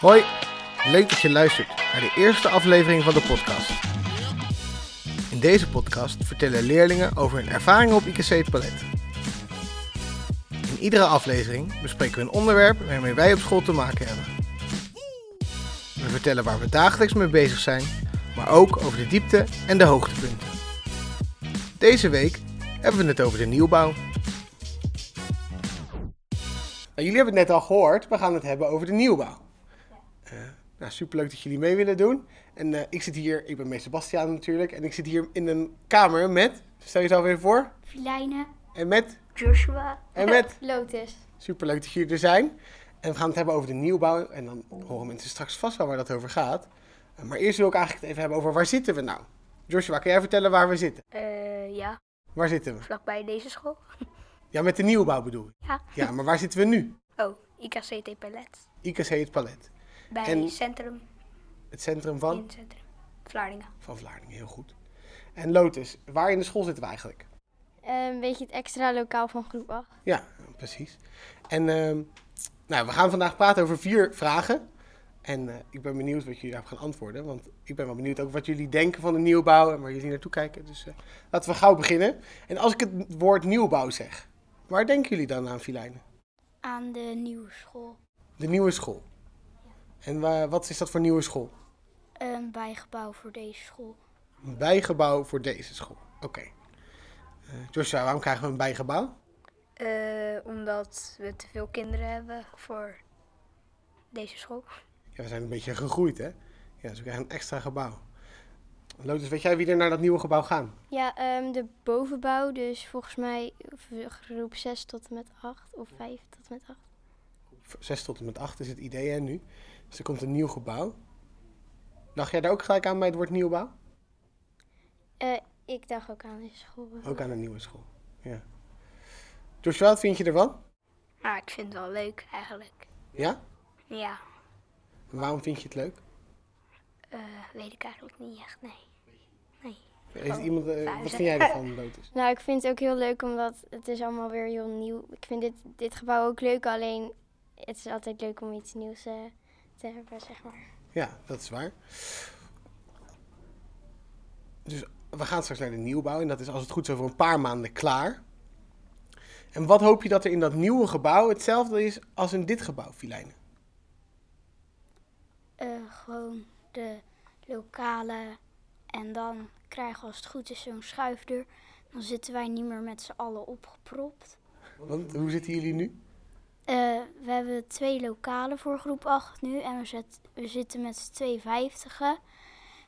Hoi, leuk dat je luistert naar de eerste aflevering van de podcast. In deze podcast vertellen leerlingen over hun ervaringen op IKC het Palet. In iedere aflevering bespreken we een onderwerp waarmee wij op school te maken hebben. We vertellen waar we dagelijks mee bezig zijn, maar ook over de diepte en de hoogtepunten. Deze week hebben we het over de nieuwbouw. Nou, jullie hebben het net al gehoord, we gaan het hebben over de nieuwbouw. Eh, nou, superleuk dat jullie mee willen doen. En eh, ik zit hier, ik ben meester Bastiaan natuurlijk, en ik zit hier in een kamer met, stel jezelf even voor, Filijnen, en met, Joshua. en met. Lotus. Superleuk dat jullie er zijn. En we gaan het hebben over de nieuwbouw, en dan horen mensen straks vast wel waar dat over gaat. Eh, maar eerst wil ik eigenlijk het even hebben over waar zitten we nou? Joshua, kan jij vertellen waar we zitten? Eh, ja, Waar zitten we? vlakbij deze school. Ja, met de nieuwbouw bedoel ik. Ja. Ja, maar waar zitten we nu? Oh, IKCT Palet. IKC het Palet. Bij En- Centrum, Het centrum in van, het Centrum. Vlaardingen. van Vlaardingen, heel goed. En Lotus, waar in de school zitten we eigenlijk? Ehm, Een beetje het extra lokaal van groep 8. Ja, precies. En ehm, nou, we gaan vandaag praten over vier vragen. En eh, ik ben benieuwd wat jullie daarop gaan antwoorden. Want ik ben wel benieuwd ook wat jullie denken van de nieuwbouw en waar jullie naartoe kijken. Dus eh, laten we gauw beginnen. En als ik het woord nieuwbouw zeg, waar denken jullie dan aan, Filijnen? Aan de nieuwe school. De nieuwe school. En wa- wat is dat voor nieuwe school? Een bijgebouw voor deze school. Een bijgebouw voor deze school. Oké. Eh, Joshua, waarom krijgen we een bijgebouw? Eh, omdat we te veel kinderen hebben voor deze school. Ja, we zijn een beetje gegroeid, hè? Ja, dus we krijgen een extra gebouw. Lotus, weet jij wie er naar dat nieuwe gebouw gaan? Ja, ehm, de bovenbouw, dus volgens mij v- groep 6 tot en met 8 of 5 tot en met 8. 6 tot en met 8 is het idee hè, nu. Dus er komt een nieuw gebouw. Dacht jij daar ook gelijk aan bij het woord nieuwbouw? Eh, ik dacht ook aan deze school. Ook aan een nieuwe school. Ja. Joshua, wat vind je ervan? Maar ik vind het wel leuk eigenlijk. Ja? Ja, En waarom vind je het leuk? eh, weet ik eigenlijk niet echt, nee. Heeft iemand, eh, wat vuizen. vind jij ervan, Lotus? Nou, ik vind het ook heel leuk omdat het is allemaal weer heel nieuw. Ik vind dit, dit gebouw ook leuk, alleen het is altijd leuk om iets nieuws eh, te hebben, zeg maar. Ja, dat is waar. Dus we gaan straks naar de nieuwbouw. En dat is als het goed is over een paar maanden klaar. En wat hoop je dat er in dat nieuwe gebouw hetzelfde is als in dit gebouw, Filijnen? Eh, gewoon de lokale. En dan krijgen we als het goed is zo'n schuifdeur. Dan zitten wij niet meer met z'n allen opgepropt. Want hoe zitten jullie nu? Eh, we hebben twee lokalen voor groep 8 nu. En we, zet- we zitten met z'n twee vijftigen.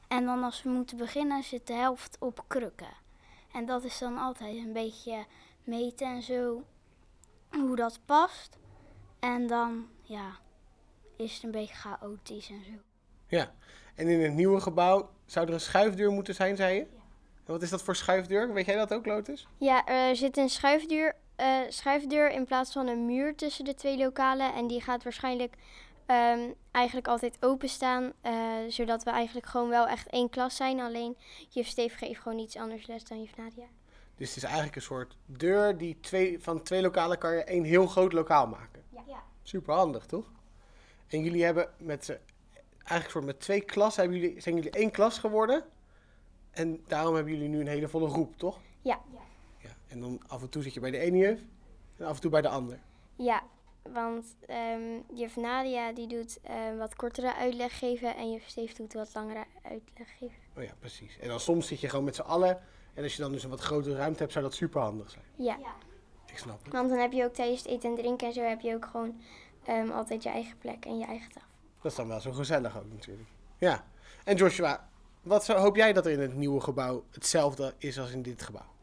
En dan als we moeten beginnen zit de helft op krukken. En dat is dan altijd een beetje meten en zo. Hoe dat past. En dan, ja, is het een beetje chaotisch en zo. Ja. En in het nieuwe gebouw zou er een schuifdeur moeten zijn, zei je? En wat is dat voor schuifdeur? Weet jij dat ook, Lotus? Ja, er zit een schuifdeur, eh, schuifdeur in plaats van een muur tussen de twee lokalen. En die gaat waarschijnlijk ehm, eigenlijk altijd openstaan. eh, zodat we eigenlijk gewoon wel echt één klas zijn. Alleen juf Steef geeft gewoon iets anders les dan juf Nadia. Dus het is eigenlijk een soort deur die twee, van twee lokalen kan je één heel groot lokaal maken. Ja. Super handig, toch? En jullie hebben met z'n, eigenlijk voor met twee klassen hebben jullie, zijn jullie één klas geworden. En daarom hebben jullie nu een hele volle groep, toch? Ja. ja. En dan af en toe zit je bij de ene juf en af en toe bij de ander. Ja, want ehm, juf Nadia die doet eh, wat kortere uitleg geven. En juf Steef doet wat langere uitleg geven. Oh ja, precies. En dan soms zit je gewoon met z'n allen. En als je dan dus een wat grotere ruimte hebt, zou dat super handig zijn. Ja. Ik snap het. Want dan heb je ook tijdens het eten en drinken en zo heb je ook gewoon ehm, altijd je eigen plek en je eigen tafel. Dat is dan wel zo gezellig ook natuurlijk. Ja. En Joshua, wat zou, hoop jij dat er in het nieuwe gebouw hetzelfde is als in dit gebouw?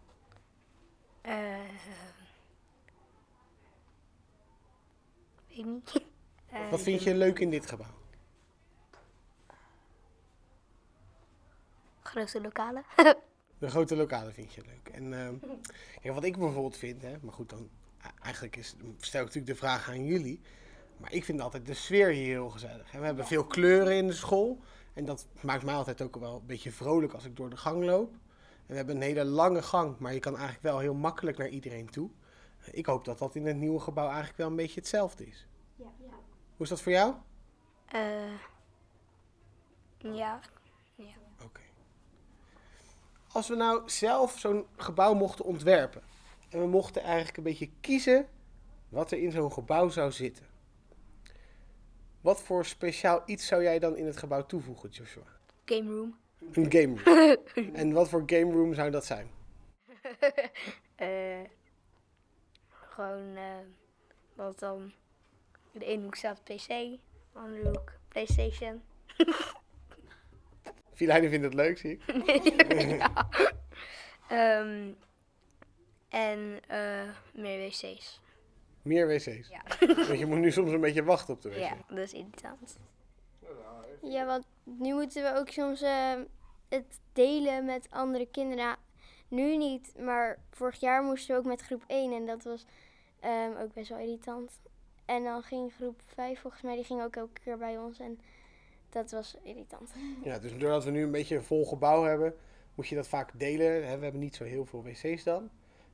Eh. weet niet. Eh, Wat vind je leuk in dit gebouw? Grote lokalen. De grote lokale vind je leuk. En ehm, kijk, wat ik bijvoorbeeld vind, hè, maar goed, dan eh, eigenlijk is, stel ik natuurlijk de vraag aan jullie. Maar ik vind altijd de sfeer hier heel gezellig. En we hebben veel kleuren in de school. En dat maakt mij altijd ook wel een beetje vrolijk als ik door de gang loop. En we hebben een hele lange gang, maar je kan eigenlijk wel heel makkelijk naar iedereen toe. Ik hoop dat dat in het nieuwe gebouw eigenlijk wel een beetje hetzelfde is. Hoe is dat voor jou? Eh, ja. Oké. Als we nou zelf zo'n gebouw mochten ontwerpen. En we mochten eigenlijk een beetje kiezen wat er in zo'n gebouw zou zitten. Wat voor speciaal iets zou jij dan in het gebouw toevoegen, Joshua? Game room. Een game room. en wat voor game room zou dat zijn? Eh, gewoon eh, dat dan. De ene hoek staat PC, de andere hoek PlayStation. Filijnen vindt het leuk, zie ik. ja. Ehm, en eh, meer wc's. Meer wc's. Ja. Want je moet nu soms een beetje wachten op de wc. ja, dat is irritant. Ja, want nu moeten we ook soms eh, het delen met andere kinderen. Nu niet, maar vorig jaar moesten we ook met groep 1 en dat was ehm, ook best wel irritant. En dan ging groep 5 volgens mij, die ging ook elke keer bij ons en dat was irritant. Ja, dus doordat we nu een beetje een vol gebouw hebben, moet je dat vaak delen. hè. We hebben niet zo heel veel wc's dan.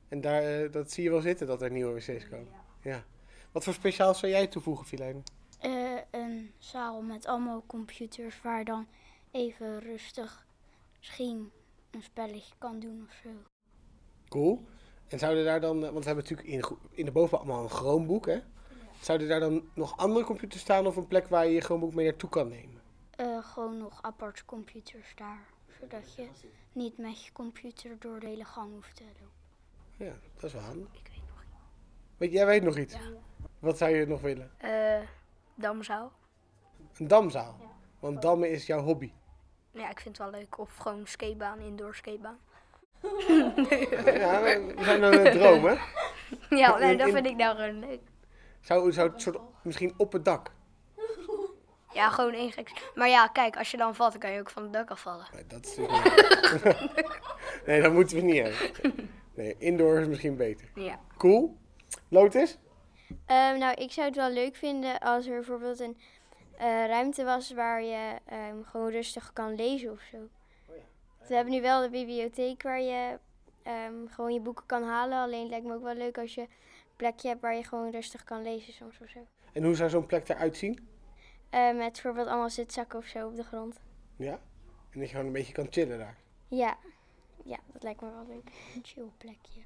En daar, eh, dat zie je wel zitten, dat er nieuwe wc's komen. Ja. Wat voor speciaal zou jij toevoegen, Filijn? Eh, een zaal met allemaal computers waar dan even rustig misschien een spelletje kan doen of zo. Cool. En zouden daar dan, eh, want we hebben natuurlijk in, de gro- in de bovenbouw allemaal een Chromebook, hè? Zouden daar dan nog andere computers staan of een plek waar je je Chromebook mee naartoe kan nemen? Eh, gewoon nog apart computers daar, zodat je niet met je computer door de hele gang hoeft te lopen. Ja, dat is wel handig. Ik weet nog. Weet, jij weet nog iets? Wat zou je nog willen? Eh damzaal. Een damzaal. Want dammen is jouw hobby. Ja, ik vind het wel leuk. Of gewoon skatebaan, indoor skatebaan. Ja, we zijn aan het dromen. Ja, nee, nee, dat dat in- vind vind ik nou gewoon leuk. Zou, zou het soort, misschien op het dak. Ja, gewoon één gek. Maar ja, kijk, als je dan valt, dan kan je ook van het dak afvallen. Nee, dat is natuurlijk niet. Nee, dat moeten we niet hebben. Nee, indoor is misschien beter. Ja. Cool. Lotus? Ehm, nou, ik zou het wel leuk vinden als er bijvoorbeeld een eh, ruimte was waar je ehm, gewoon rustig kan lezen of zo. We hebben nu wel de bibliotheek waar je ehm, gewoon je boeken kan halen. Alleen het lijkt me ook wel leuk als je een plekje hebt waar je gewoon rustig kan lezen soms of zo. En hoe zou zo'n plek eruit zien? Eh, met bijvoorbeeld allemaal zitzakken of zo op de grond. Ja? En dat je gewoon een beetje kan chillen daar. Ja, ja dat lijkt me wel leuk. Een chill plekje.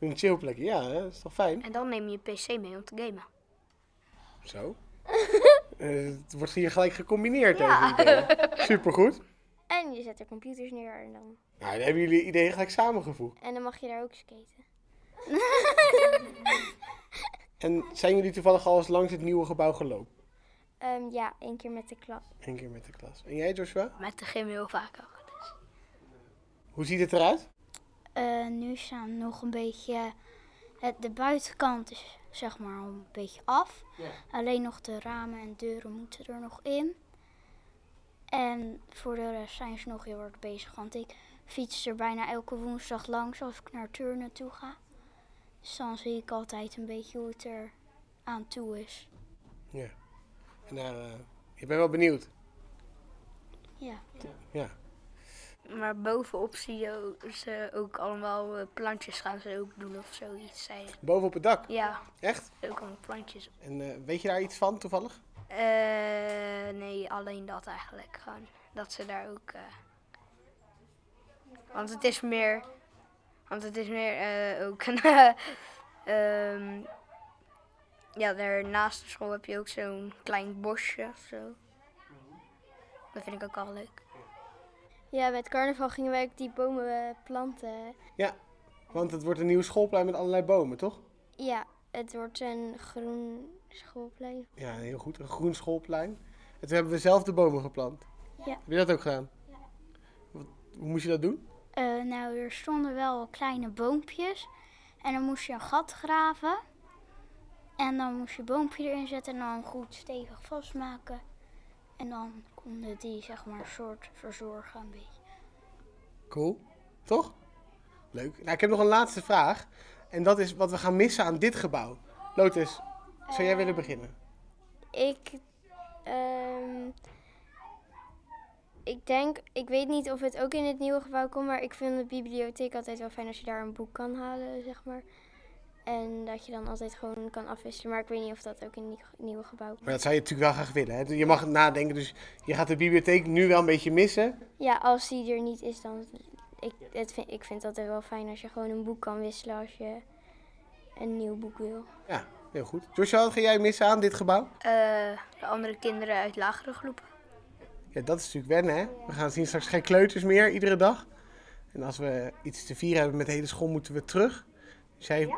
Een chillplekje, ja, hè? dat is toch fijn? En dan neem je je PC mee om te gamen. Zo. Eh, het wordt hier gelijk gecombineerd. Ja. even idee. Supergoed. En je zet er computers neer en dan, Nou, dan hebben jullie ideeën gelijk samengevoegd. en dan mag je daar ook skaten. En zijn jullie toevallig al eens langs het nieuwe gebouw gelopen? Ehm, ja, één keer met de klas. Eén keer met de klas. En jij, Joshua? Met de gym heel vaak ook. Hoe ziet het eruit? Eh, nu staan nog een beetje. Het, de buitenkant is zeg maar al een beetje af. Alleen nog de ramen en deuren moeten er nog in. En voor de rest zijn ze nog heel hard bezig. Want ik fiets er bijna elke woensdag langs als ik naar Turnen toe ga. Dus dan zie ik altijd een beetje hoe het er aan toe is. En, eh, ik ben wel benieuwd. Ja. Ja. Maar bovenop zie je ze ook allemaal eh, plantjes gaan ze ook doen of zoiets. Zei ze. Boven op het dak. Ja, Echt? ook allemaal plantjes. En eh, weet je daar iets van toevallig? Eh, nee, alleen dat eigenlijk. Gewoon dat ze daar ook. eh, want het is meer. Want het is meer eh, ook een. eh, ehm, ja, daar naast de school heb je ook zo'n klein bosje of zo. Dat vind ik ook al leuk. Ja, met carnaval gingen wij ook die bomen eh, planten. Want het wordt een nieuw schoolplein met allerlei bomen, toch? Ja, het wordt een groen schoolplein. Ja, heel goed. Een groen schoolplein. En toen hebben we zelf de bomen geplant. Ja. Heb je dat ook gedaan? Wat- hoe moest je dat doen? Eh, nou, er stonden wel kleine boompjes. En dan moest je een gat graven. En dan moest je boompje erin zetten en dan goed stevig vastmaken. En dan konden die, zeg maar, een soort verzorgen een beetje. Cool. Toch? Leuk. Nou, ik heb nog een laatste vraag. En dat is wat we gaan missen aan dit gebouw. Lotus, zou jij willen beginnen? Ik, ehm, ik denk, ik weet niet of het ook in het nieuwe gebouw komt, maar ik vind de bibliotheek altijd wel fijn als je daar een boek kan halen, zeg maar. En dat je dan altijd gewoon kan afwisselen. Maar ik weet niet of dat ook in het nieuwe gebouw Maar dat zou je natuurlijk wel graag willen. Hè? Je mag nadenken, dus je gaat de bibliotheek nu wel een beetje missen. Ja, als die er niet is, dan. Ik, het vind, ik vind dat wel fijn als je gewoon een boek kan wisselen als je een nieuw boek wil. Ja, heel goed. Joshua, wat ga jij missen aan dit gebouw? Eh, de andere kinderen uit lagere groepen. Ja, dat is natuurlijk wennen, hè? We gaan zien straks geen kleuters meer iedere dag. En als we iets te vieren hebben met de hele school, moeten we terug. Dus jij...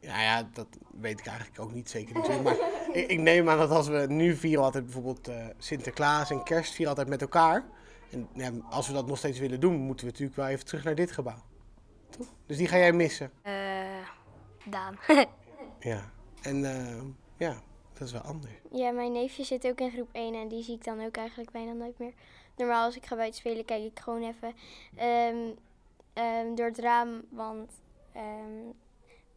Ja, ja, dat weet ik eigenlijk ook niet zeker natuurlijk. Maar ik, ik neem aan dat als we nu vieren altijd bijvoorbeeld eh, Sinterklaas en kerst vieren altijd met elkaar. En ja, als we dat nog steeds willen doen, moeten we natuurlijk wel even terug naar dit gebouw. Toch? Dus die ga jij missen. Eh, Daan. Ja. En eh, ja, dat is wel anders. Ja, mijn neefje zit ook in groep 1 en die zie ik dan ook eigenlijk bijna nooit meer. Normaal als ik ga buiten spelen, kijk ik gewoon even ehm, ehm, door het raam, want ehm,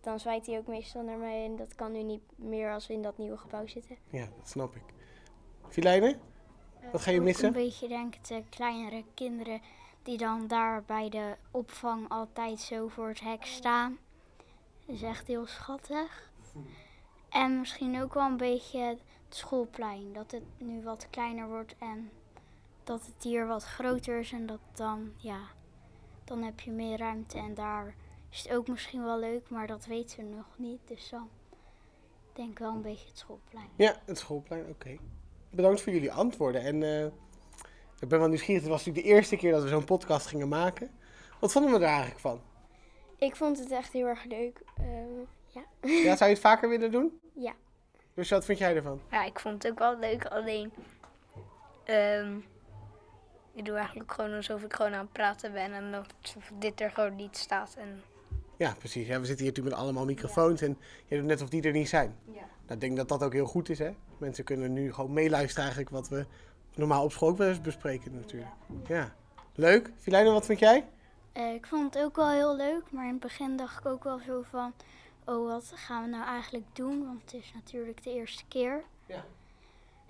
dan zwaait hij ook meestal naar mij en dat kan nu niet meer als we in dat nieuwe gebouw zitten. Ja, dat snap ik. Filijnen, wat ga je Ook missen? Een beetje denk ik de kleinere kinderen die dan daar bij de opvang altijd zo voor het hek staan. Dat is echt heel schattig. En misschien ook wel een beetje het schoolplein. Dat het nu wat kleiner wordt en dat het hier wat groter is. En dat dan, ja, dan heb je meer ruimte. En daar is het ook misschien wel leuk, maar dat weten we nog niet. Dus dan denk ik wel een beetje het schoolplein. Ja, het schoolplein, oké. Bedankt voor jullie antwoorden. En eh, ik ben wel nieuwsgierig, het was natuurlijk de eerste keer dat we zo'n podcast gingen maken. Wat vonden we er eigenlijk van? Ik vond het echt heel erg leuk. ehm, ja. Ja, zou je het vaker willen doen? Ja. Dus wat vind jij ervan? Ja, ik vond het ook wel leuk, alleen. ehm, ik doe eigenlijk gewoon alsof ik gewoon aan het praten ben en dat dit er gewoon niet staat. En Ja, precies. Ja, we zitten hier natuurlijk met allemaal microfoons en je doet net of die er niet zijn. Ja. ik denk dat dat ook heel goed is, hè? Mensen kunnen nu gewoon meeluisteren eigenlijk wat we normaal op school ook wel eens bespreken natuurlijk. Ja. Leuk. Filijnen, wat vind jij? Eh, ik vond het ook wel heel leuk, maar in het begin dacht ik ook wel zo van, oh wat gaan we nou eigenlijk doen, want het is natuurlijk de eerste keer. Ja.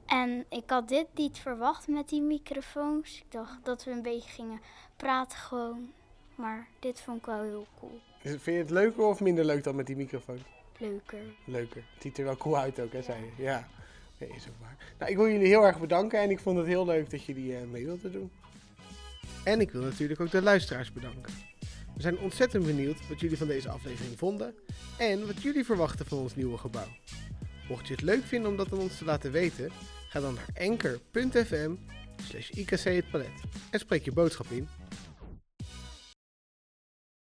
En ik had dit niet verwacht met die microfoons. Ik dacht dat we een beetje gingen praten gewoon, maar dit vond ik wel heel cool. Is- Vind je het leuker of minder leuk dan met die microfoon? Leuker. leuker. Het ziet er wel cool uit ook, hè, zei je. Ja, nee, is ook waar. Nou, ik wil jullie heel erg bedanken en ik vond het heel leuk dat jullie eh, mee wilden doen. En ik wil natuurlijk ook de luisteraars bedanken. We zijn ontzettend benieuwd wat jullie van deze aflevering vonden en wat jullie verwachten van ons nieuwe gebouw. Mocht je het leuk vinden om dat aan ons te laten weten, ga dan naar anker.fm slash ikc het palet en spreek je boodschap in.